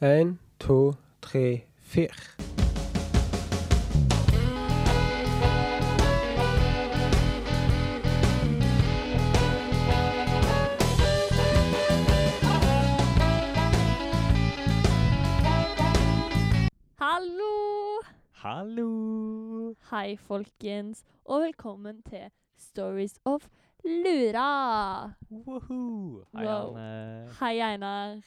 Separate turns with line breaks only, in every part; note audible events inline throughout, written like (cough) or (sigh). En, to, tre, fire.
Hallo!
Hallo!
Hei, folkens, og velkommen til Stories of Lura!
Woho! Hei,
Wow.
Anne.
Hei, Einar.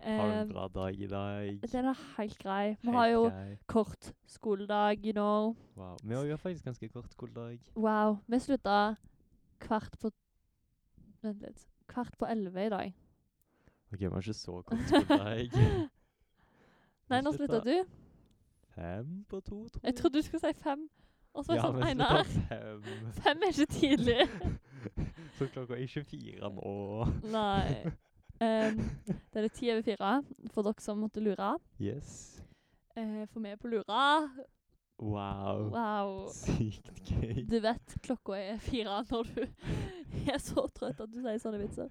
Har du en
Eh,
bra dag i dag?
den er helt grei. Vi
Helt
har jo
grei.
kort skoledag, you know.
Wow. Vi har jo faktisk ganske kort skoledag.
Wow. Vi slutta kvart på Vent litt. Kvart på elleve i dag.
OK, vi har ikke så kort
(laughs)
skoledag.
Nei, nå slutta du.
Fem på to, tror
Jeg trodde du skulle si fem. Og så var jeg
ja,
sånn,
vi slutta
Einar,
fem.
(laughs) fem er ikke
(laughs)
tidlig.
Så klokka er 24 nå. (laughs)
Nei. Em, det er det ti over fire, for dere som måtte lure.
Yes.
Eh, for vi er på lura.
Wow.
Wow.
Sykt gøy.
Du vet klokka er fire når du (laughs) er så trøtt at du sier sånne vitser.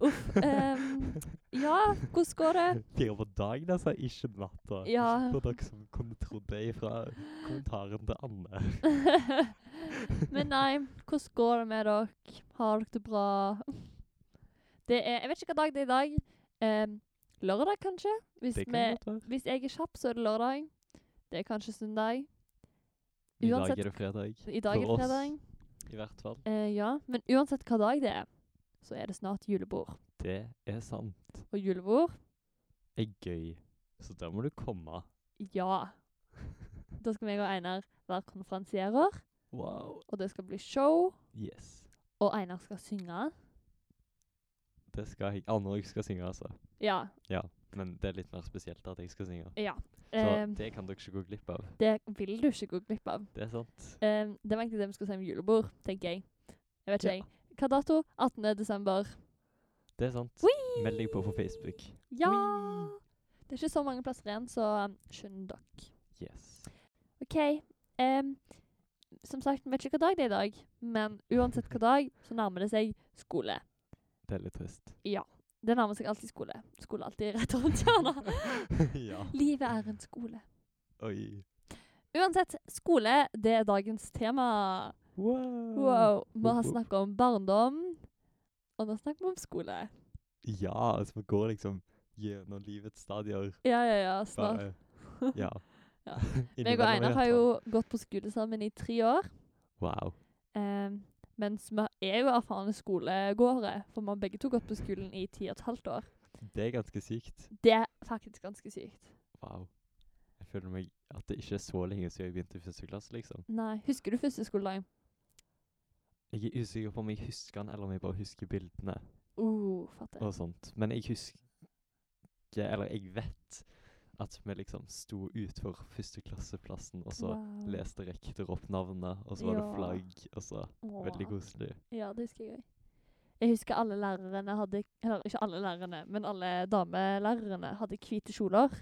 Uff. em, ja, hvordan går det?
(laughs) Fire på dagen, altså. Ikke på natta.
Ja. (laughs)
For dere som kunne trodd det fra kommentaren til Anne.
Men nei, hvordan går det med dere? Har dere det bra? Det er, jeg vet ikke hva dag det er i dag. Em, lørdag, kanskje? Hvis,
Det
vi,
kan godt være.
hvis jeg er kjapp, så er det lørdag. Det er kanskje søndag.
I dag
uansett-
er det fredag.
I dag er
For
det
oss.
fredag.
I hvert fall.
Eh, ja, men uansett hva dag det er, så er det snart julebord.
Det er sant.
Og julebord,
Er gøy. Så da må du komme.
ja. Da skal meg og Einar være konferansierer,
Wow.
og det skal bli show.
Yes.
Og Einar skal synge.
Det skal jeg. Anne òg skal synge, altså.
Ja.
Men det er litt mer spesielt at jeg skal synge.
ja.
Så
Ehm,
det kan dere ikke gå glipp av.
det vil du ikke gå glipp av.
Det er sant.
Ehm, det var egentlig det vi skulle si om julebord, tenker jeg. Jeg vet ikke,
Ja.
jeg. Hva dato? 18. desember.
Det er sant.
Whee!
Meld deg på på Facebook.
Ja!
Whee!
Det er ikke så mange plasser igjen, så um, skynd dere.
Yes.
OK. ehm, som sagt, vi vet ikke hva dag det er i dag, men uansett hva dag, så nærmer det seg skole.
Det er litt
(laughs)
trist.
Det nærmer seg alltid skole. Skole er alltid rett rundt hjørnet.
(laughs) ja.
Livet er en skole.
Oi.
Uansett, skole det er dagens tema.
Wow.
Wow. Vi har
Woop woop.
snakka om barndom, og nå snakker vi om skole.
Ja, altså vi går liksom gjennom livets stadier.
Ja, ja, ja. Snart.
Bare Ja.
Ja. (laughs) Meg og
(laughs) Innimellom i
Einar
hvert
har
fall.
jo gått på skole sammen i tre år.
Wow.
Eh, mens vi er jo erfarne skolegåere, for vi har begge to gått på skolen i ti og et halvt år.
Det er ganske sykt.
Det er faktisk ganske sykt.
Wow. Jeg føler meg at det ikke er så lenge siden jeg begynte i første klasse, liksom.
Nei, Husker du første skoledag?
Jeg er usikker på om jeg husker den, eller om jeg bare husker bildene
Uh, fatter.
og sånt. Men jeg husker Eller jeg vet at vi liksom sto utfor førsteklasseplassen, og så
Wow.
leste rektor opp navnet, og så var
Ja.
det flagg, og så Veldig
Åh.
koselig.
Ja, det husker jeg òg. Jeg husker alle lærerne hadde Eller ikke alle lærerne, men alle damelærerne hadde hvite kjoler. Eh, og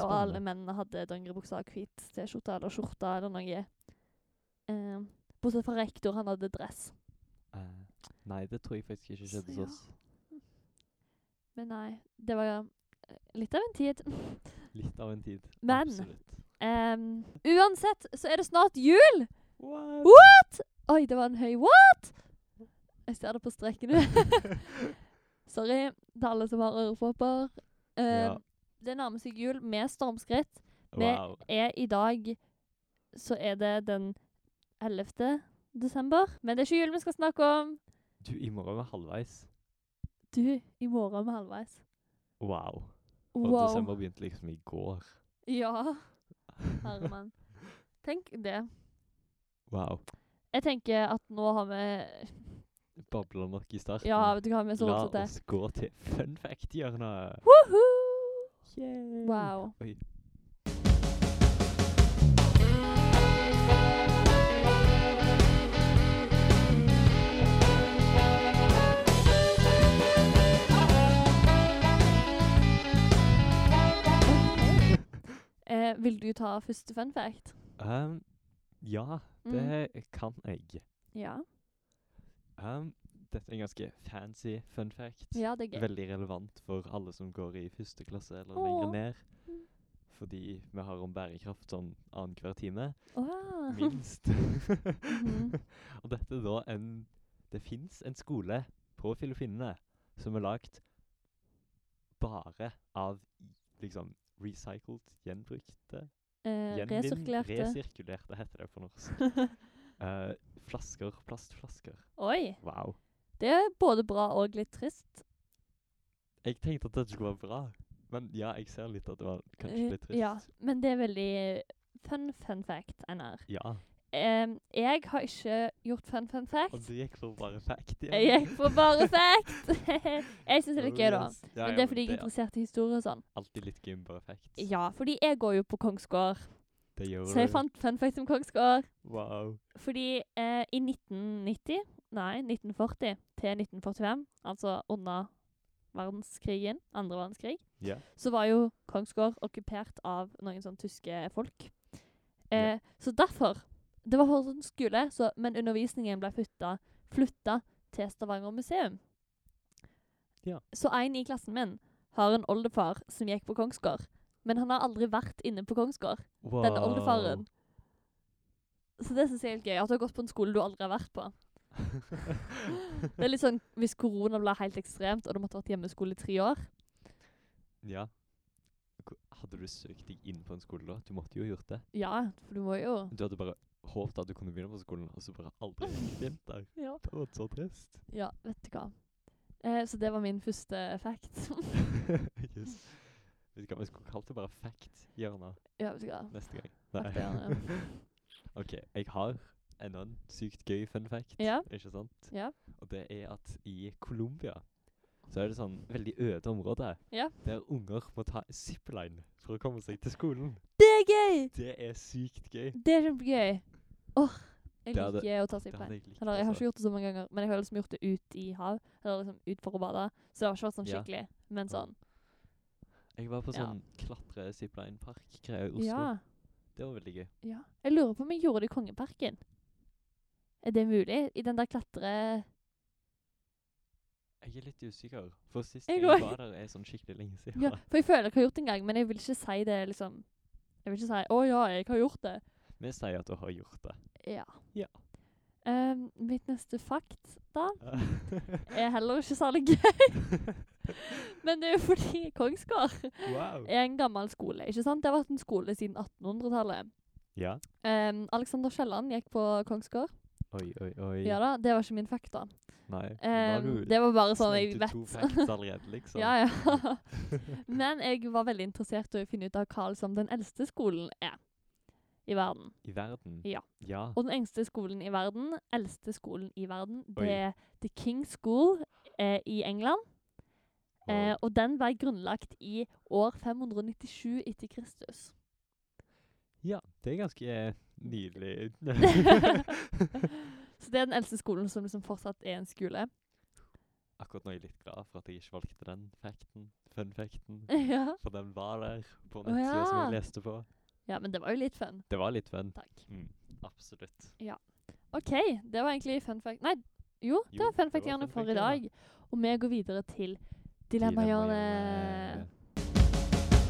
Spennende.
alle mennene hadde dongeribukser og hvit T-skjorte eller skjorte eller noe. Eh, bortsett fra rektor, han hadde dress.
Eh, nei, det tror jeg faktisk ikke
Så
skjedde
ja.
hos oss.
Men nei, det var eh, litt av en tid. (laughs)
Litt av en tid.
Men-
Absolutt.
Em, uansett så er det snart jul!
What?
What?! Oi, det var en høy what! Jeg ser det på
(laughs)
streken nå. Sorry til alle som har ørepropper. Eh,
Ja.
Det nærmer seg jul med stormskritt. det-
Wow.
Er I dag så er det den 11. desember. Men det er ikke jul vi skal snakke om.
Du, i morgen er halvveis.
Du, i morgen er vi halvveis.
Wow. Og
Wow.
desember begynte liksom i går.
Ja, herremann. Tenk det.
(laughs) Wow.
Jeg tenker at nå har vi
Babler nok i starten.
Ja, vet du hva, vi er så
La
rotete.
oss gå til fun
(laughs)
fact-hjørnet.
Woohoo!
Yay.
Wow.
Oi.
Eh, vil du ta første fun fact?
Um, ja,
Mm.
det kan jeg.
Ja.
Um, dette er en ganske fancy fun fact.
Ja, det er gøy.
Veldig relevant for alle som går i første klasse eller
Åh.
lenger ned.
Mm.
Fordi vi har om bærekraft sånn annenhver time.
Åh.
Minst.
Mhm.
(laughs) Og dette er da en Det fins en skole på Filippinene som er lagd bare av i- liksom recycled, gjenbrukte
Eh,
gjenvinn-
resirkulerte.
Resirkulerte heter det på norsk. Eh, flasker. Plastflasker.
(laughs) Oi!
Wow.
Det er både bra og litt trist.
Jeg tenkte at dette skulle være bra, men ja, jeg ser litt at det var kanskje
Eh,
litt trist.
Ja, men det er veldig fun fun fact, NR.
Ja,
Em, jeg har ikke gjort fun fun fact.
Og du gikk for bare fact igjen.
Jeg gikk for bare fact. (laughs) jeg syns det er litt gøy, da.
Yes. Ja,
Men
ja,
det er fordi jeg er
det er
interessert i historie og sånn.
alltid litt gøy med bare facts.
Ja, fordi jeg går jo på Kongsgård,
Det gjør
så jeg
du.
fant fun facts om Kongsgård.
Wow.
Fordi eh, i 1990, nei 1940 til 1945, altså under verdenskrigen, andre verdenskrig,
Ja.
så var jo Kongsgård okkupert av noen sånn tyske folk. Eh, Så derfor Det var for sånn skole, så, men undervisningen ble flytta, flytta til Stavanger museum.
Ja.
Så en i klassen min har en oldefar som gikk på Kongsgård, men han har aldri vært inne på Kongsgård.
wow.
Denne oldefaren. Så det syns jeg er helt gøy. At du har gått på en skole du aldri har vært på. (laughs) Det er litt sånn hvis korona ble helt ekstremt, og du måtte vært hjemmeskole i tre
(laughs)
år.
(laughs) ja. Ko- Hadde du søkt deg inn på en skole da? Du måtte jo ha gjort det.
Ja, for du må jo
Du hadde bare håpet at du kunne begynne på skolen, og så bare aldri begynt der.
Ja.
Det var så trist.
Ja, vet du hva. Eh, så det var min første fact.
(laughs)
(laughs)
yes. Vet du hva, vi skulle kalt det bare fact-hjørnet
ja, vet du hva.
neste gang.
Fact hjørnet.
(laughs) ok, jeg har enda en sykt gøy fun fact,
Ja.
ikke sant?
Ja.
Og det er at i Colombia så er det sånn veldig øde område
Ja.
der unger må ta zipline for å komme seg til skolen.
Det er gøy!
Det er sykt gøy.
Det er kjempegøy. Åh, jeg
Det hadde-
liker å ta
Det
seg på
hadde jeg likt.
Eller, jeg har
altså.
ikke gjort det så mange ganger, men jeg har liksom gjort det ut i hav. Eller liksom ut for å bade. Så det har ikke vært sånn
Ja.
skikkelig. Men
Ja.
sånn.
Jeg var på
Ja.
sånn klatre-zipline-park-greie i Oslo.
Ja.
Det var veldig gøy.
ja. Jeg lurer på om jeg gjorde det i Kongeparken. Er det mulig? I den der klatre...
Jeg er litt usikker, for sist
Jeg
jeg,
òg.
var der er sånn skikkelig lenge siden.
Ja, for jeg føler jeg har gjort det en gang, men jeg vil ikke si det liksom Jeg vil ikke si 'Å ja, jeg har gjort det'.
Vi sier at du har gjort det.
Ja.
Ja.
Ehm, mitt neste fakt, da,
(laughs)
er heller ikke særlig gøy. (laughs) Men det er jo fordi Kongsgård
wow.
er en gammel skole. ikke sant? Det har vært en skole siden 1800-tallet.
Ja.
Ehm, Alexander Kielland gikk på Kongsgård.
Oi, oi, oi.
Ja da, Det var ikke min fakt, da.
Nei.
Ehm, det var bare sånn jeg
slengte to
(laughs) vet.
facts allerede, liksom.
Ja, (laughs) ja. Men jeg var veldig interessert i å finne ut av hva liksom den eldste skolen er i verden.
I verden.
Ja.
Ja.
Og den engste skolen i verden, eldste skolen i verden,
Oi.
det er The King's School eh, i England. Eh,
Wow.
og den ble grunnlagt i år 597 etter Kristus.
(laughs) ja, det er ganske eh,
(laughs)
nydelig.
Så det er den eldste skolen som liksom fortsatt er en
(laughs)
skole.
Akkurat nå er jeg litt glad for at jeg ikke valgte den facten, fun facten.
ja.
For den var der på
Å
nettsida som
ja.
jeg leste på.
ja, men det var jo litt fun.
Det var litt fun.
Takk.
Mm, absolutt.
OK, det var egentlig fun fact Nei, jo, det
Jo,
var fun
det var
fact-hjørnet
fun
for i dag.
fact-hjørnet.
Og vi går videre til Dilemmahjørnet.
Dilemmahjørnet.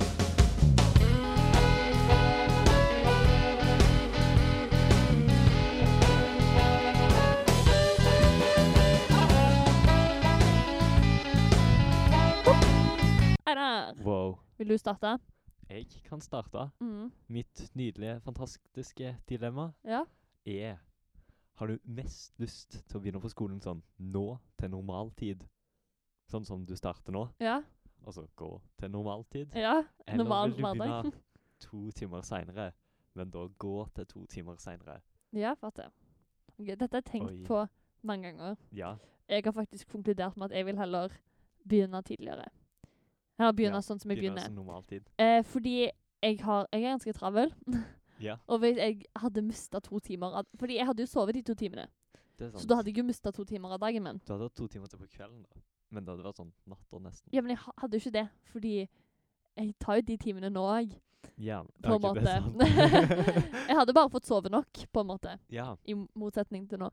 Einar,
Wow.
vil du starte?
Jeg kan starte.
Mm.
Mitt nydelige, fantastiske dilemma
Ja.
er Har du mest lyst til å begynne på skolen sånn nå til normaltid? Sånn som du starter nå,
Ja.
altså gå til normaltid?
ja.
Eller
Eh, normal
vil du
hverdag.
begynne (laughs) to timer seinere, men da gå til to timer seinere?
Ja, fatter. Ok, dette har jeg tenkt
Oi.
på mange ganger.
Ja.
Jeg har faktisk konkludert med at jeg vil heller begynne tidligere. Eller begynne
Ja,
sånn som jeg begynner.
som normaltid.
Eh, fordi jeg, har, jeg er ganske travel,
Ja,
og hvis jeg hadde mista to timer av, Fordi jeg hadde jo sovet de to timene,
det er sant.
så da hadde jeg jo mista to timer av dagen min.
Du hadde hatt to timer til på kvelden, da. Men det hadde vært sånn natta nesten.
Ja, men jeg ha- hadde jo ikke det, fordi jeg tar jo de timene nå òg,
Ja,
på en
ok, det er
måte. (laughs)
sant. (laughs)
jeg hadde bare fått sove nok, på en måte.
ja.
I motsetning til nå.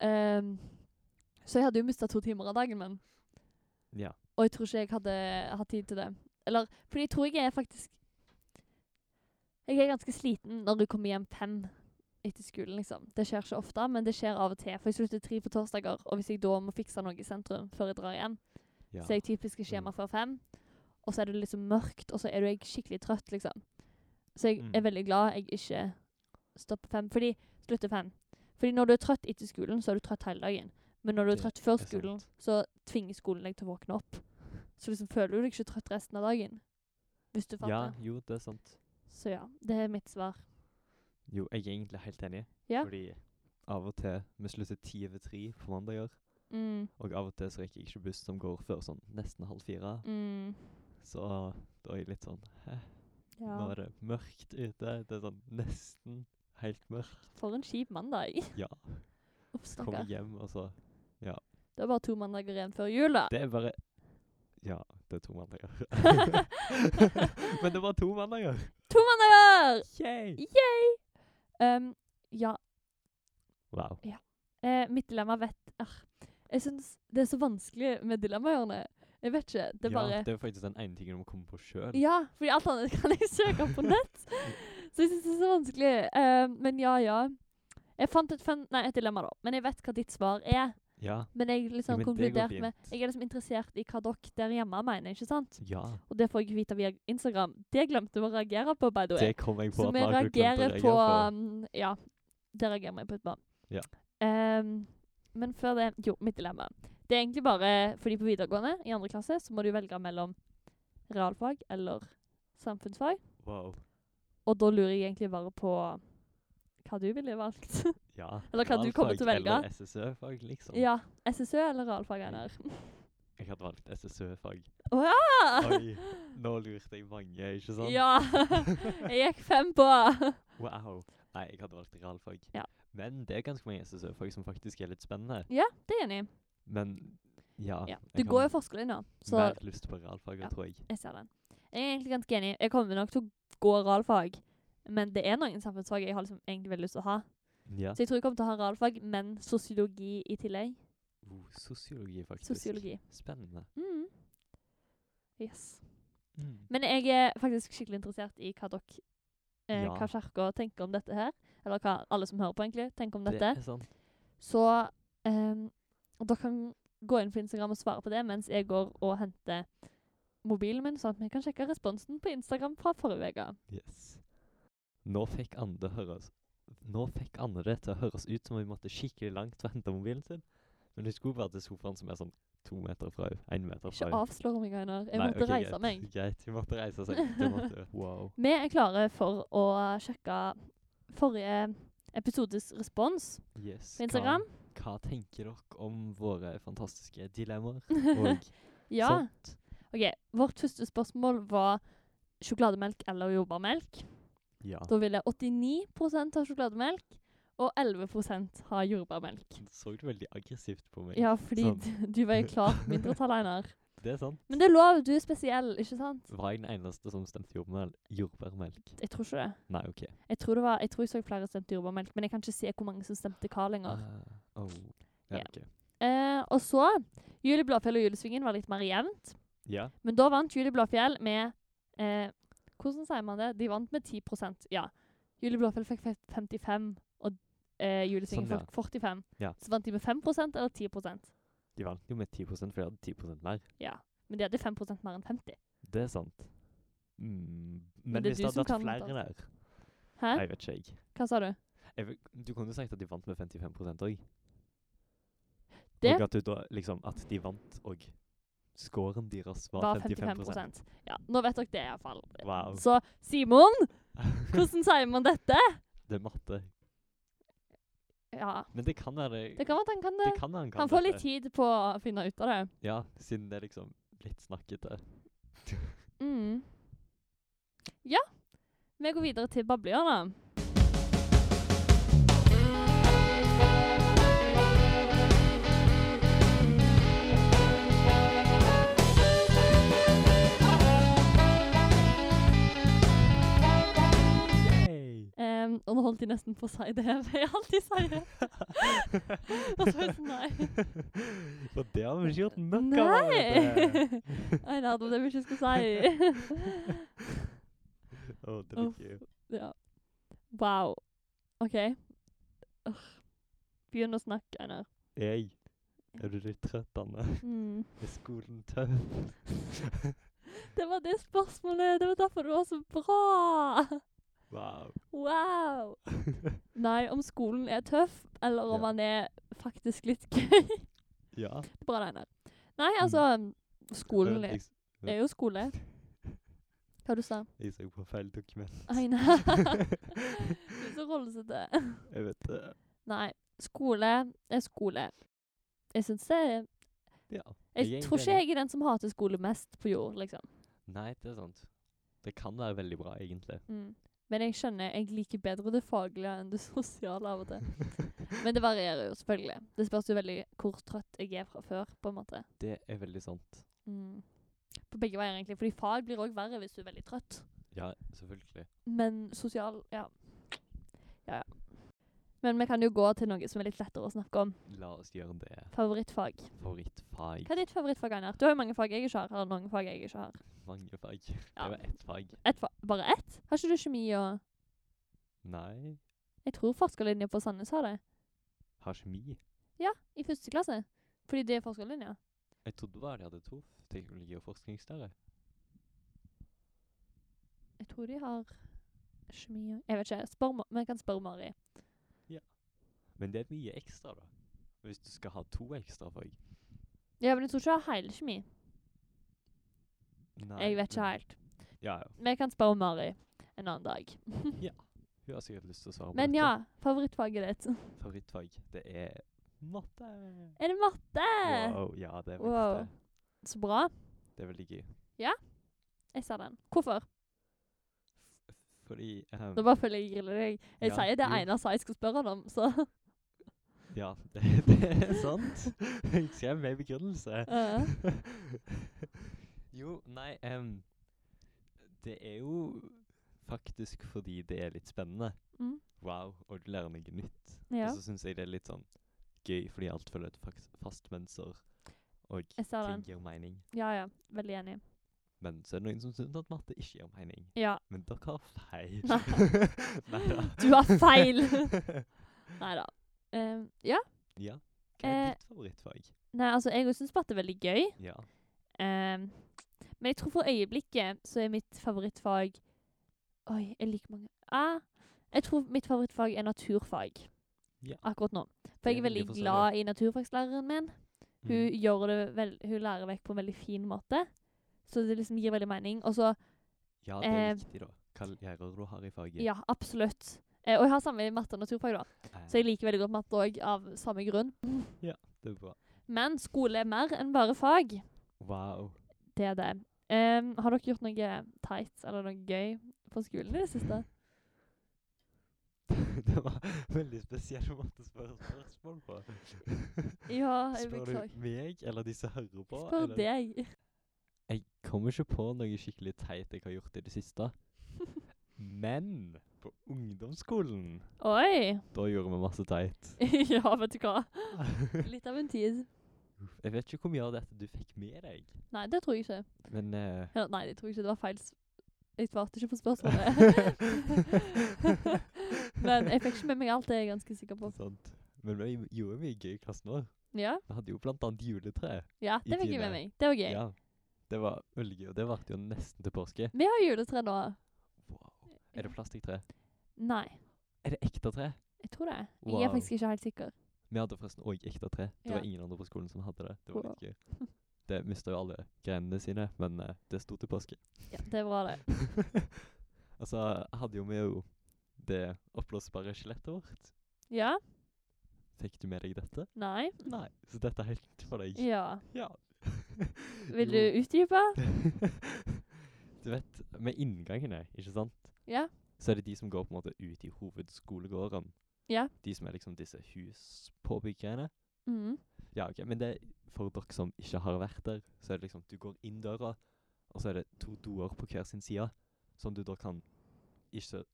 Ehm, Så jeg hadde jo mista to timer av dagen min.
Ja.
Og jeg tror ikke jeg hadde hatt tid til det. Eller, fordi jeg tror jeg er faktisk Jeg er ganske sliten når du kommer hjem fem etter skolen, liksom. Det skjer ikke ofte, men det skjer av og til. For jeg slutter tre på torsdager, og hvis jeg da må fikse noe i sentrum før jeg drar hjem,
Ja.
så er jeg typisk ikke hjemme
Mm.
før fem. Og så er det liksom mørkt, og så er du jeg skikkelig trøtt, liksom. Så jeg
Mm.
er veldig glad jeg ikke stopper fem. Fordi slutter fem. Fordi når du er trøtt etter skolen, så er du trøtt hele dagen. Men når du er
Det
trøtt før
er
skolen,
sant.
så tvinger skolen deg til å våkne opp. Så liksom føler du deg ikke trøtt resten av dagen. Hvis du
ja,
fatter.
jo, det er sant.
Så ja, det er mitt svar.
Jo, jeg er egentlig helt enig.
Ja.
Fordi av og til Vi slutter ti over tre på mandager,
Mm,
og av og til så rekker jeg ikke buss som går før sånn nesten halv fire.
mm,
Så da er jeg litt sånn Hæ, nå
ja.
er det mørkt ute. Det er sånn nesten helt mørkt.
For en kjip mandag.
Ja.
(laughs) Uff, stakkar.
Kommer hjem, og så
Det er bare to mandager igjen før jul, da.
Det er bare Ja, det er to
(laughs)
mandager. (laughs) Men det var to mandager!
To mandager!
Yay!
Yay! Um, ja,
Wow.
Eh, mitt dilemma vet Arr. Jeg syns det er så vanskelig med dilemmaene. Jeg vet ikke. Det er bare
ja, det er faktisk den ene tingen du må komme på sjøl.
Ja, fordi alt annet kan jeg søke
(laughs)
opp på nett. Så jeg syns det er så vanskelig. Eh, men ja, ja. Jeg fant et, fan- nei, et dilemma, da. Men jeg vet hva ditt svar er.
Ja.
Men jeg liksom
men det går
konkludert med
fint.
Jeg er liksom interessert i hva dere der hjemme mener, ikke sant?
ja.
Og det får jeg vite via Instagram. Det glemte vi å reagere på, by the way.
Det kom jeg på
Så
at
vi
Margaret glemte å
reagerer
reagere
på um, Ja, det reagerer vi på etterpå.
Ja.
Ehm, men før det Jo, mitt dilemma. Det er egentlig bare fordi på videregående i andre klasse så må du velge mellom realfag eller samfunnsfag.
Wow.
Og da lurer jeg egentlig bare på hva du ville valgt.
Ja.
Eller hva du kommer
Realfag
til å velge.
Eller SSØ-fag, liksom.
(laughs) ja. SSØ eller realfag, Einar? (laughs)
Jeg hadde valgt SSØ-fag.
Å ja!
Oi, nå lurte jeg mange, ikke sant?
Ja. (laughs) Jeg gikk fem på.
Wow. Nei, jeg hadde valgt realfag.
Ja.
Men det er ganske mange SSØ-fag som faktisk er litt spennende.
Ja, det er jeg enig i.
Men ja,
Ja. Du
jeg har
går jo forskerlinja, så
mer lyst på realfag,
Ja.
tror jeg.
Jeg ser den. Jeg er egentlig ganske enig. Jeg kommer nok til å gå realfag, men det er noen samfunnsfag jeg har liksom egentlig veldig lyst til å ha.
Ja.
Så jeg tror jeg kommer til å ha realfag, men sosiologi i tillegg.
Oh, sosiologi, faktisk.
Sosiologi.
Spennende.
Mm. Yes. Men jeg er faktisk skikkelig interessert i hva dere eh,
Ja.
Hva kirka tenker om dette her. Eller hva alle som hører på, egentlig tenker om
Det
dette.
er sånn sant.
Så ehm, dere kan gå inn på Instagram og svare på det mens jeg går og henter mobilen min, sånn at vi kan sjekke responsen på Instagram fra forrige uke.
Yes. Nå fikk Anne det høres Nå fikk Anne det til å høres ut som om hun måtte skikkelig langt for å hente mobilen sin. Men hun skulle bare til sofaen som er sånn to meter fra henne. Én meter fra
Ikke
henne.
avslør meg, Einar. Jeg
Nei,
måtte
ok,
reise
greit,
meg.
Greit, hun måtte reise seg. Du måtte,
(laughs)
wow.
Vi er klare for å sjekke forrige episodes respons
Yes.
på Instagram.
Hva, hva tenker dere om våre fantastiske
(laughs)
dilemmaer?
ja.
Og sånt?
OK. Vårt første spørsmål var sjokolademelk eller jordbærmelk.
Ja.
Da ville 89 ha sjokolademelk, og 11 ha jordbærmelk.
Så du veldig aggressivt på meg?
Ja, fordi
Sånn.
du- du var i klart mindretall,
(laughs)
Einar.
Det er sant.
Men det er lov, du er spesiell, ikke sant?
Var jeg den eneste som stemte jordbærmel jordbærmelk?
Jeg tror ikke det.
Nei, OK.
Jeg tror, det var, jeg tror jeg så flere stemte jordbærmelk, men jeg kan ikke se hvor mange som stemte hva lenger.
Ah, oh.
Ja.
Ja, ok.
Eh, og så Julie Blåfjell og Julesvingen var litt mer jevnt.
Ja.
Men da vant Julie Blåfjell med eh, Hvordan sier man det? De vant med 10 ja. Julie Blåfjell fikk fe- 55, og eh, Julesvingen
Sånn, ja.
fikk 45.
Ja.
Så vant de med 5 eller 10
De vant jo med 10 for de hadde 10 mer.
Ja. Men de hadde 5 mer enn 50.
Det er sant. Mm. Men
det er
hvis
du
det hadde
som
vært
kan
flere
data.
der
Hæ?
Nei, jeg vet ikke, jeg.
Hva sa du?
jeg vet, du kunne jo sagt at de vant med 55 òg.
Det-
Og at, du da, liksom, at de vant, og scoren deres var,
Var
55,
55 Ja, Nå vet dere det, iallfall.
Wow.
Så Simon, hvordan sier man dette?
(laughs) Det er matte.
Ja,
Men det kan være
det kan være at han kan det.
det kan han kan
Han får
dette.
litt tid på å finne ut av det.
Ja, siden det er liksom litt (laughs) snakkete.
Mm. Ja. Vi går videre til bablehjørnet.
Yay!
Ehm, nå holdt de nesten på å si det (laughs) jeg alltid sier. Og så er det sånn, (laughs) nei.
For det har vi ikke gjort nok av.
(laughs)
allerede.
Nei! Nei, det hadde vi ikke skulle si. (laughs)
Å, det
Uff.
liker jeg.
Ja. Wow. OK. Ugh. Begynn å snakke, Einar.
Jeg Er du litt trøtt, Anne?
Mm.
Er skolen tøff?
(laughs) Det var det spørsmålet! Det var derfor det var så bra!
Wow.
Wow! Nei, om skolen er tøff, eller om
Ja.
han er faktisk litt gøy.
Ja. Eh,
Bra, Einar. Nei, altså Skolen
men
er,
Jeg, s-
er jo skole. Hva du sa du?
(laughs) jeg så på feil dokument.
Einar. Du er så rollesete.
Jeg vet eh, det.
(laughs) Nei, skole er skole. Jeg syns det er
Ja.
Jeg
er
tror ikke
egentlig enig.
jeg er den som hater skole mest på jord, liksom.
Nei, det er sant. Det kan være veldig bra, egentlig.
Mm. Men jeg skjønner, jeg liker bedre det faglige enn det (laughs) sosiale av og
(laughs)
til. Men det varierer jo, selvfølgelig. Det spørs jo veldig hvor trøtt jeg er fra før, på en måte.
Det er veldig sant.
Mm. På begge veier, egentlig. Fordi fag blir òg verre hvis du er veldig trøtt.
Ja, selvfølgelig.
Men sosial Ja. Ja, ja. Men vi kan jo gå til noe som er litt lettere å snakke om.
La oss gjøre det.
Favorittfag.
Favorittfag.
Hva er ditt favorittfag, Einar? Du har jo mange fag jeg ikke har. Eller noen fag jeg ikke har.
Mange fag.
Ja.
Det var ett fag.
Et fa bare ett? Har ikke du kjemi og
Nei,
Jeg tror forskerlinja på Sandnes har det.
har kjemi.
Ja, i første klasse. Fordi det er forskerlinja.
Jeg trodde bare de hadde to. Teknologi og forskningslære.
Jeg tror de har kjemi og Jeg vet ikke. Spør, Ma- vi kan spørre Mari.
Men det er mye ekstra, da. Hvis du skal ha to ekstra fag.
Ja, men jeg tror ikke jeg har hele kjemi.
Nei,
Jeg vet ikke
men-
helt.
Ja, ja.
Vi kan spørre Mari en annen dag.
Hun har sikkert lyst til å svare på
Men
dette.
ja, favorittfaget ditt.
Favorittfag, det er matte.
Er det matte?
Wow, ja, det er faktisk
Wow.
det.
Så bra.
Det er veldig gøy.
Jeg sa den. Hvorfor?
F- Fordi ehm,
Nå bare føler jeg jeg griller deg. Jeg
Ja,
sier det
jo.
Einar sa jeg skulle spørre han om,
(laughs)
så (laughs)
Ja, (laughs) det, det er sant. Jeg skrev med begrunnelse.
Ja.
(laughs) jo, nei ehm, Det er jo faktisk fordi det er litt spennende.
mm.
Wow, og du lærer noe nytt.
Ja,
Og så syns jeg det er litt sånn gøy, fordi alt følger et faks- fast mønster, og
jeg sa
ting
den.
gir mening.
Ja, ja. Veldig enig.
Men så er det noen som syns at matte ikke gir mening.
Ja.
Men dere har feil. (laughs)
Nei.
Neida.
Du har
(laughs)
feil! (laughs) Nei da. ja.
ja. Hva er
Eh,
ditt favorittfag?
Nei, altså, jeg syns bare det er veldig gøy.
Ja.
Ehm, men jeg tror for øyeblikket så er mitt favorittfag Oi, jeg liker mange ah, Jeg tror mitt favorittfag er naturfag.
Ja.
Akkurat nå. For
Det
jeg er
er veldig
veldig
forskjellig.
glad i naturfagslæreren min.
Mm.
Hun, gjør det vel, hun lærer vekk på en veldig fin måte. Så det liksom gir veldig mening. Og så
ja, det er
eh,
viktig, da. Hva lærer du har i faget.
Ja, absolutt. Eh, og jeg har samme i matte og naturfag, da.
Eh,
Så jeg liker veldig godt matte òg, av samme grunn.
det er bra.
Men skole er mer enn bare fag.
Wow. (laughs)
Det er det. Ehm, har dere gjort noe teit eller noe gøy på skolen i det siste?
det var veldig spesiell måte å spørre spørsmål på.
Ja, jeg
Spør
beklager.
du meg eller de som hører på?
Spør
eller-
deg.
Jeg kommer ikke på noe skikkelig teit jeg har gjort i det siste. Men på ungdomsskolen,
Oi. (laughs)
da gjorde vi masse teit.
ja, vet du hva. Litt av en tid.
Jeg vet ikke hvor mye av dette du fikk med deg,
Nei, det tror jeg ikke.
men eh,
Eller, nei, det tror jeg ikke. Det var feil. s- Jeg svarte ikke på
(laughs)
spørsmålet. Men jeg fikk ikke med meg alt, det er jeg ganske sikker på.
Sant. Men vi gjorde mye gøy i klassen vår.
Ja,
Vi hadde jo blant annet juletre.
ja
I
det fikk jeg
tiende.
med meg. Det var gøy.
Ja. Det var veldig gøy, og det varte jo nesten til påske.
Vi har juletre nå.
Wow. Er det plastikktre?
Nei,
Er det ekte tre?
jeg tror det. Jeg er
Wow.
faktisk ikke helt sikker.
Vi hadde forresten òg ekte tre. Det var
Ja.
ingen andre på skolen som hadde det. Det var litt gøy. Det mista jo alle grenene sine, men eh, det sto til påske.
Ja, det er bra, det.
(laughs) altså, jeg hadde jo med jo det oppblåsbare skjelettet vårt.
Ja?
Fikk du med deg dette?
Nei?
Nei. Så dette er helt for deg.
Ja.
Ja.
(laughs) Vil du utdype?
(laughs) Du vet, med inngangene, ikke sant,
Ja.
så er det de som går på en måte ut i hovedskolegården.
Ja.
De som er liksom disse huspåbyggerne. (laughs)
Mhm.
Ja, ok, men det for dere som ikke har vært der, så er det liksom Du går inn døra, og så er det to doer på hver sin side, som du da kan ikke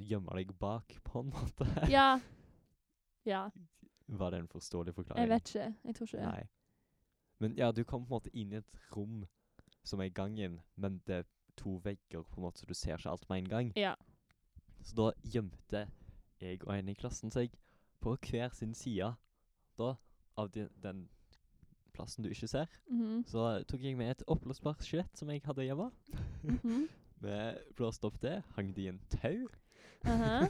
gjemme deg bak, på en måte.
Ja. Ja.
(laughs) Var det en forståelig forklaring?
Jeg vet ikke. Jeg tror ikke det.
Nei. Men ja, du kom på en måte inn i et rom som er gangen, men det er to vegger, på en måte, så du ser ikke alt med en gang.
Ja.
Så da gjemte jeg og en i klassen seg på hver sin side da, av de, den plassen du ikke ser.
Mhm.
Så tok jeg med et oppblåsbart skjelett som jeg hadde hjemme.
Mhm.
Vi blåste opp det, hang det i en tau, (laughs)
Aha.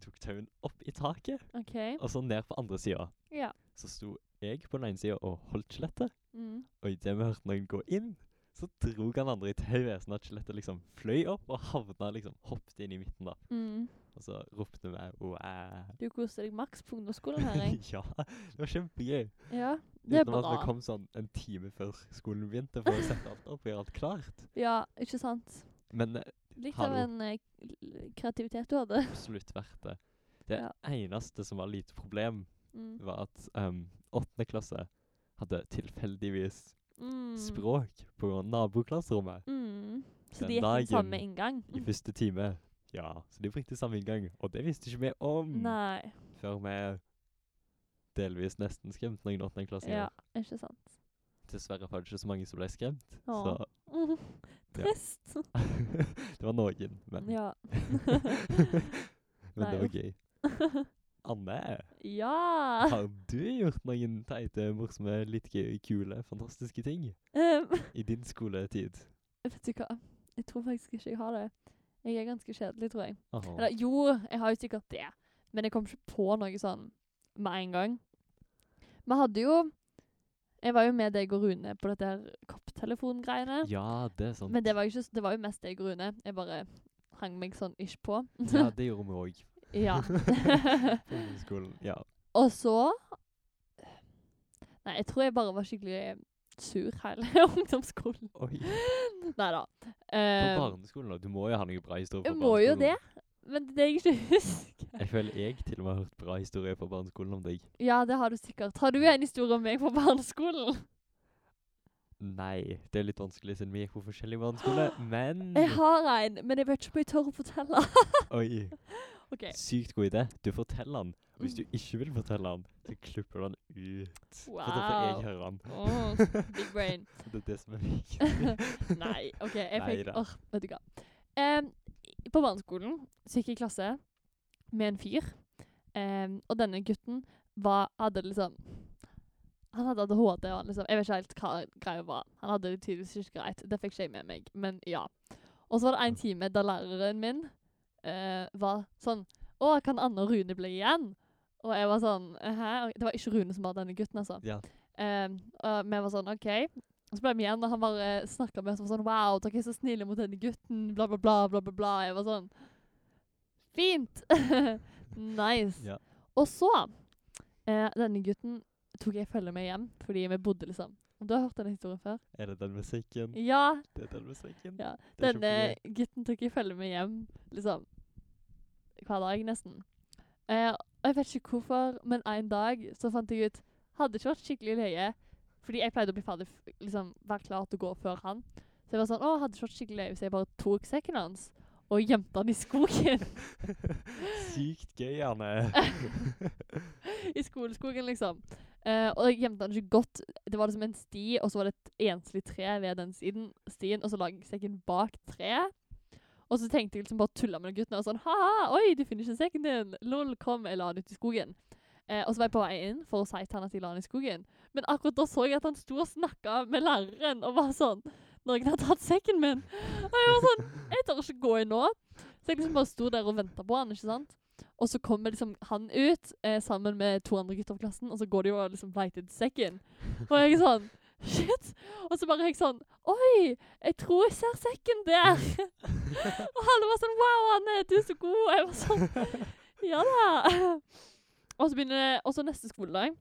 tok tauen opp i taket,
Uh-huh. OK.
og så ned på andre sida.
Ja.
Så sto jeg på den ene sida og holdt skjelettet,
Mm.
og idet vi hørte noen gå inn, så dro han andre i tauet, sånn at skjelettet liksom fløy opp og havna liksom, hoppet inn i midten, da.
Mm.
Og så ropte vi «Wow!»
Du koser deg maks på ungdomsskolen, hører jeg.
(laughs) ja, det var kjempegøy.
Ja, det er
Utenom at vi
bra.
kom sånn en time før skolen begynte for å sette alt opp og gjøre alt klart.
Ja, ikke sant?
Men eh,
Litt
Hallo.
av en eh, k- kreativitet du hadde.
absolutt verdt det. Det
Ja.
eneste som var lite problem,
Mm.
var at um, åttende klasse hadde tilfeldigvis
Mm.
språk på grunn av naboklasserommet
Mm. Så
Den
de gikk den samme
dagen.
inngang?
i første time. Ja, så de brukte samme inngang, og det visste ikke vi om
Nei.
før vi delvis nesten skremte noen åttendeklassinger.
Ja, ikke sant.
Dessverre var det ikke så mange som ble skremt,
Åh. (laughs) Mm. Trist.
så (laughs) det var noen, men (laughs)
Ja. (laughs)
Men det
Nei.
var gøy.
(laughs)
Anne, (laughs)
ja.
har du gjort noen teite, morsomme, litt gøy, kule, fantastiske ting
Um,
i din skoletid?
(laughs) vet du hva? Jeg tror faktisk ikke jeg har det. Jeg er ganske kjedelig, tror jeg.
Åh,
Eller jo, jeg har jo sikkert det. Men jeg kom ikke på noe sånn med en gang. Vi hadde jo Jeg var jo med deg og Rune på dette her kopptelefongreiene.
Ja, det er sant.
Men det (laughs) var, jo ikke, s- det var jo mest deg og Rune. Jeg bare hang meg sånn ish på.
ja, det gjorde vi òg.
(laughs) ja.
(laughs) På ungdomsskolen. Ja.
og så Nei, jeg tror jeg bare var skikkelig sur (laughs) hele ungdomsskolen.
Oi.
Nei da.
På barneskolen, da. Du må jo ha noen bra historier
Eh. jeg
fra
må jo
barneskolen.
det, men det er det jeg ikke (laughs) husker.
Jeg føler jeg til og med har hørt bra historier fra barneskolen om deg.
Ja, det har du sikkert. Har du en historie om meg på barneskolen?
Mm. Nei, det er litt vanskelig siden vi gikk på forskjellig barneskole,
(gasps)
men
Jeg har en, men jeg vet ikke om jeg tør å fortelle.
Oi.
OK. Mm.
Sykt god idé. Du forteller den. Og hvis du ikke vil fortelle den, så klipper du den ut. For da får jeg
Wow.
høre den.
Åh, big brain.
Det er det som er viktig.
(laughs) Nei, OK. Jeg fikk
Neida.
Åh, vet du hva. Em, i- på barneskolen så gikk jeg i klasse med en fyr, em, og denne gutten var, hadde liksom Han hadde ADHD, og han liksom, jeg vet ikke helt hva greia var. Han hadde det tydeligvis ikke greit. Det fikk ikke jeg med meg, men ja. Og så var det en time da læreren min eh, var sånn Å, kan Anne og Rune bli igjen? Og jeg var sånn Hæ? Det var ikke Rune som var denne gutten, altså.
Ja.
Um, og vi var sånn OK. Og så ble vi igjen, og han bare snakka med oss og var sånn Wow, dere er så snille mot denne gutten, bla, bla, bla, bla, bla. bla. Jeg var sånn Fint! (laughs) nice.
Ja.
Og så eh, Denne gutten tok jeg følge med hjem, fordi vi bodde liksom Og Du har hørt denne historien før?
Er det den musikken?
Ja.
Det er den musikken.
ja.
Det er
Denne
kjempegøy.
gutten tok jeg følge med hjem liksom hver dag, nesten. Eh, og jeg vet ikke hvorfor, men en dag så fant jeg ut Hadde ikke vært skikkelig leie, fordi jeg pleide å bli ferdig f- liksom, være klar til å gå før han. Så jeg var sånn Å, hadde ikke vært skikkelig leie hvis jeg bare tok sekken hans og gjemte han i skogen.
(laughs) Sykt gøy,
(laughs)
Anne.
I skoleskogen, liksom. Eh, og jeg gjemte den ikke godt. Det var liksom en sti, og så var det et enslig tre ved den siden, stien, og så la jeg sekken bak treet. Og så tenkte jeg liksom bare tulla med de guttene og sånn ha-ha, oi, du finner ikke sekken din. Lol, kom, jeg la den ut i skogen. Eh, og så var jeg på vei inn for å si til han at jeg la den i skogen. Men akkurat da så jeg at han sto og snakka med læreren og var sånn Når jeg hadde tatt sekken min. Og jeg var sånn Jeg tør ikke gå inn nå. Så jeg liksom bare sto der og venta på han, ikke sant. Og så kommer liksom han ut eh, sammen med to andre gutter fra klassen, og så går de jo og liksom leter etter sekken. Og jeg er sånn Shit! Og så bare er jeg sånn Oi, jeg tror jeg ser sekken der! og alle var sånn Wow, Anne, du er så god! Og jeg var sånn Ja da! og så begynner det Og så neste skoledag.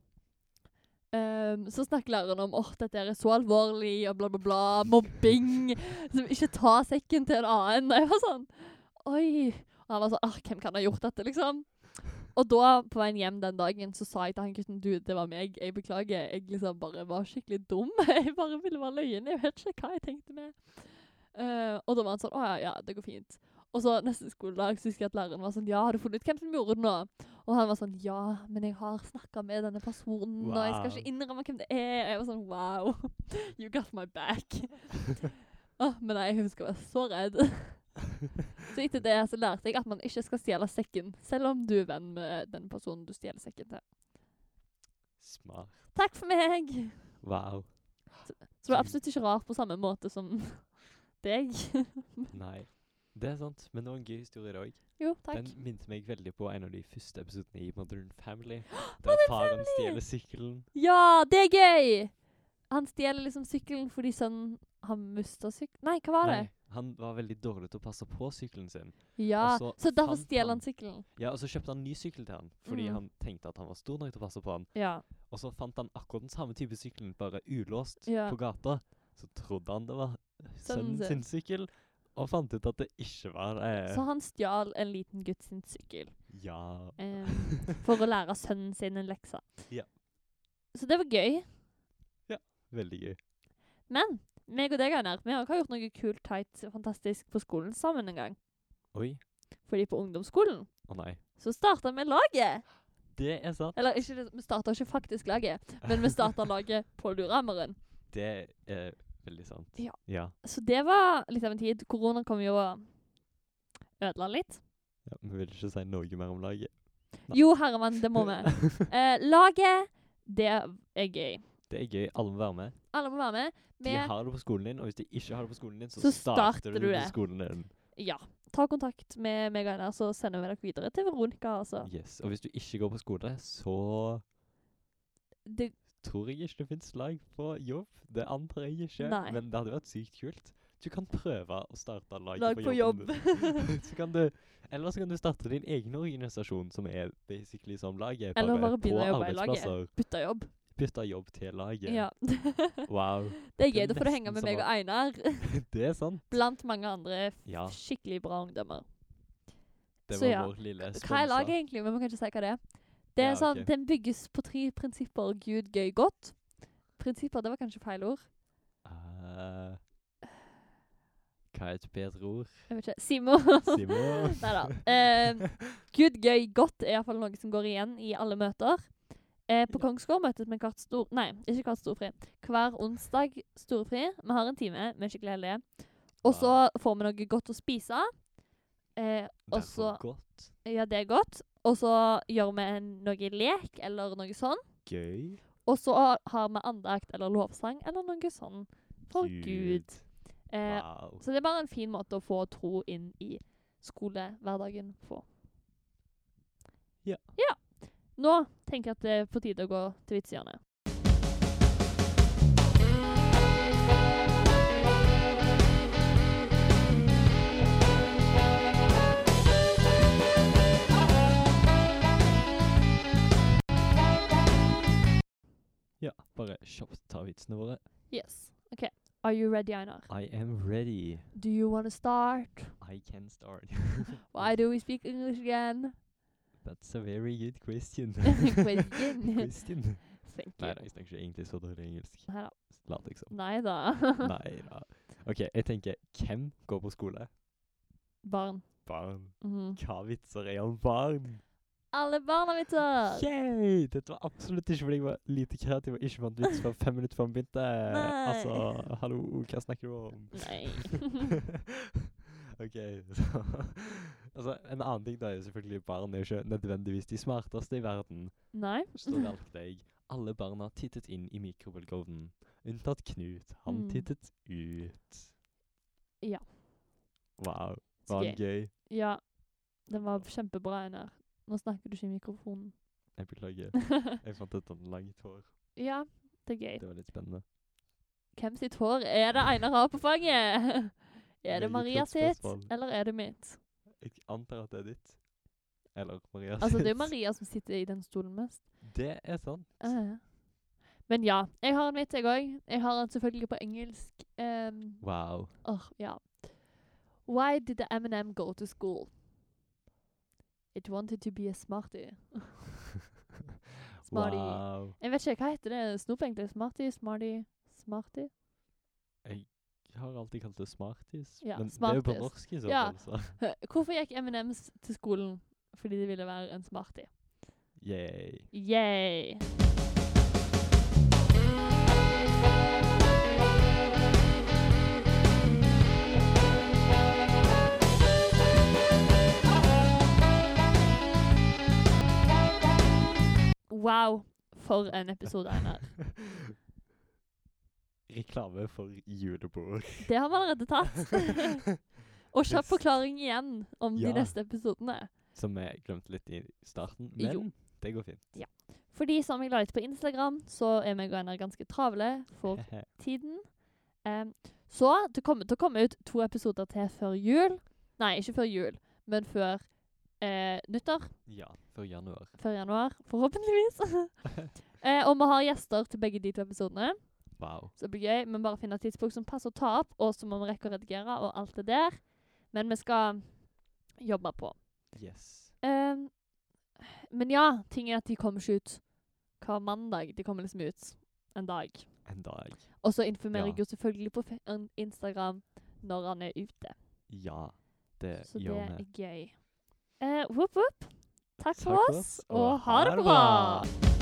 ehm, så snakker læreren om åh, dette her er så alvorlig, og bla, bla, bla. Mobbing. Som ikke ta sekken til en annen. Og jeg var sånn Oi. Og han var sånn «Ah, Hvem kan ha gjort dette, liksom? Og da, på veien hjem den dagen, så sa jeg til han gutten Du, det var meg. Jeg beklager. Jeg liksom bare var skikkelig dum. (laughs) Jeg bare ville være løyen. Jeg vet ikke hva jeg tenkte med. Eh, og da var han sånn Å ja, ja, det går fint. Og så neste skoledag så husker jeg at læreren var sånn Ja, har du funnet ut hvem som gjorde det nå? Og han var sånn Ja, men jeg har snakka med denne personen, og jeg skal
Wow.
ikke innrømme hvem det er. Og jeg var sånn Wow, (laughs) you got my back. Åh, men nei, jeg husker jeg var så redd. Så etter det så lærte jeg at man ikke skal stjele sekken, selv om du er venn med den personen du stjeler sekken til.
Smart.
Takk for meg!
Wow.
Så det var absolutt ikke rart på samme måte som (laughs) deg.
Nei. Det er sant, men det var en gøy historie i dag.
Jo, takk.
Den minte meg veldig på en av de første episodene i Modern Family.
(gasps)
Der
Modern
faren
Family!
stjeler sykkelen.
Ja, det er gøy! Han stjeler liksom sykkelen fordi sønnen har mista sykkelen Nei, hva var det?
Nei, han var veldig dårlig til å passe på sykkelen sin.
Ja,
Og så
Så derfor
fant
stjeler han
Altså, han-
sykkelen.
Ja, Og så kjøpte han ny sykkel til han, fordi
Mm.
han tenkte at han var stor nok til å passe på han.
Ja.
Og så fant han akkurat den samme type sykkelen, bare ulåst
Ja.
på gata. Så trodde han det var sønnen
Sønnen sin.
sin sykkel, og fant ut at det ikke var det.
Så han stjal en liten gutt sin sykkel
Ja. (laughs)
eh, for å lære sønnen sin en lekse.
Ja.
Så det var gøy.
Veldig gøy.
Men meg og deg, Einar, vi har ikke gjort noe kult, teit, fantastisk på skolen sammen en gang.
Oi.
Fordi på ungdomsskolen
Å nei.
så starta vi laget.
Det er sant.
Eller ikke, det- vi starta ikke faktisk laget, men vi starta laget på Lurammeren.
Det er veldig sant.
Ja.
ja.
Så det var litt av en tid. Korona kom jo og ødela litt.
Ja, Vi vil ikke si noe mer om laget. Nei.
Jo, herremann, det
(laughs)
må vi. Eh, laget, det er gøy.
Det er gøy. Alle må være med.
Alle må være med.
De
Vi,
har det på skolen din, og hvis de ikke har det på skolen din, så,
Så
starter,
starter
du
du
på
det.
skolen din.
ja, ta kontakt med meg og Einar, så sender vi dere videre til Veronica. Altså.
Yes. Og hvis du ikke går på skole, så
Det,
tror jeg ikke det fins lag på jobb. Det antar jeg ikke,
Nei.
men det hadde vært sykt kult. Du kan prøve å starte lag,
lag
på,
på jobb.
jobben din.
(laughs)
så kan du, eller så kan du starte din egen organisasjon, som er basically som laget.
Eller bare
på
begynne å jobbe i laget.
arbeidsplasser.
Bytta jobb.
Bytte jobb til laget.
Ja. (laughs) det
Wow. (laughs)
er gøy. Da får du henge
nesten
med
som
meg
å-
og Einar
Det er sant.
blant mange andre f-
Ja.
skikkelig bra ungdommer.
Det
Så
var
ja.
vår lille sponsor.
Hva er laget egentlig? Men vi kan ikke si hva det er. Det er
Ja,
sånn,
ok.
Den bygges på tre prinsipper. Gud, gøy, godt. Prinsipper, det var kanskje feil ord.
Eh, hva er et bedre
(laughs)
ord?
Jeg vet ikke. Simo. (laughs)
Simon?
Nei da. Eh, Gud, gøy, godt er iallfall noe som går igjen i alle møter. Eh, på Kongsgård møtes vi hvert stor... Nei, ikke hvert storfri. Hver onsdag storfri. Vi har en time, vi er skikkelig heldige. Og så får vi noe godt å spise. Eh,
Derfor
også-
godt.
ja, det er godt. Og så gjør vi en, noe lek eller noe sånn.
Gøy.
Og så har vi andakt eller lovsang eller noe sånn for Gud. Eh,
Wow.
så det er bare en fin måte å få tro inn i skolehverdagen på.
Ja.
Nå tenker jeg at det er på tide å gå til vitsehjørnet.
Ja, bare kjapt ta vitsene våre.
Yes. OK. Are you ready, Einar?
I am ready.
Do you want to start?
I can start. (laughs)
Why do we speak English (laughs) again?
That's a very good question. (laughs)
Question. (laughs)
question.
Thank
Nei
you.
da, jeg snakker ikke egentlig så dårlig engelsk.
Neida.
Lat jeg som.
Nei da.
Nei da. OK, jeg tenker hvem går på skole?
(laughs) Barn.
Barn.
Mhm.
Hva vitser er om barn?
Alle barna mitt! da.
Yay! Dette var absolutt ikke fordi jeg var lite kreativ og ikke fant vits for fem minutter før vi begynte.
Nei.
Altså, hallo, hva snakker du om?
Nei.
(laughs) OK, så (laughs) altså, En annen ting da er jo selvfølgelig barn er jo ikke nødvendigvis de smarteste i verden.
Nei.
Så da valgte jeg alle barna tittet inn i mikrobølgeovnen. Unntatt Knut. Han
Mm.
tittet ut.
Ja.
Wow. Var
Gøy.
han gøy?
(laughs) Ja. Den var kjempebra, Einar. Nå snakker du ikke i mikrofonen. (laughs)
Jeg beklager. Jeg fant ut han langt hår.
ja, det er gøy.
Det var litt spennende.
Hvem sitt hår er det Einar har på fanget? (laughs) Er
Veldig
det Maria
flott
sitt,
spørsmål.
eller er det
(laughs)
mitt?
Jeg antar at det er ditt. Eller Maria
Altså, det er
sitt.
jo Maria som sitter i den stolen mest.
(laughs) Det er sant.
Eh. Men ja, jeg har en vits, jeg òg. Jeg har den selvfølgelig på engelsk. Um,
Wow.
oh, ja. Why did the M&M go to school? It wanted to be a smarty. Smarty.
Wow.
Jeg vet ikke, hva heter det? Snop egentlig? Smarty? Smarty? Smarty?
har alltid kalt det Smarties.
Ja,
men det er jo på
Smarties.
norsk i så
Ja.
fall, så (laughs)
Hvorfor gikk M&M's til skolen? Fordi de ville være en smartie.
yay.
Yay! Wow, for en
(laughs)
episode, Einar.
Reklame for julebord.
Det har vi allerede
(laughs)
tatt. Og kjapp
Yes.
forklaring igjen om
Ja.
de neste episodene.
Som jeg glemte litt i starten, men
Jo.
det går fint.
Fordi som jeg la ut på Instagram, så er meg og Einar ganske travle
(laughs)
for tiden. Em, så det kommer til å komme ut to episoder til før jul. Nei, ikke før jul, men før eh, nyttår.
ja, før januar.
Før januar, forhåpentligvis. eh, og vi har gjester til begge de to episodene.
Wow.
Så det blir gøy. Vi må bare finne et tidspunkt som passer å ta opp, og så må vi rekke å redigere og alt det der. Men vi skal jobbe på.
Yes.
Em, men ja, ting er at de kommer ikke ut hver mandag. De kommer liksom ut en dag.
En dag.
Og så informerer
Ja.
jeg jo selvfølgelig på fe- an- Instagram når han er ute.
Ja, det
Så det
gjør
er
vi.
gøy. Eh, whoop, whoop. Takk for oss,
og ha det bra!
bra.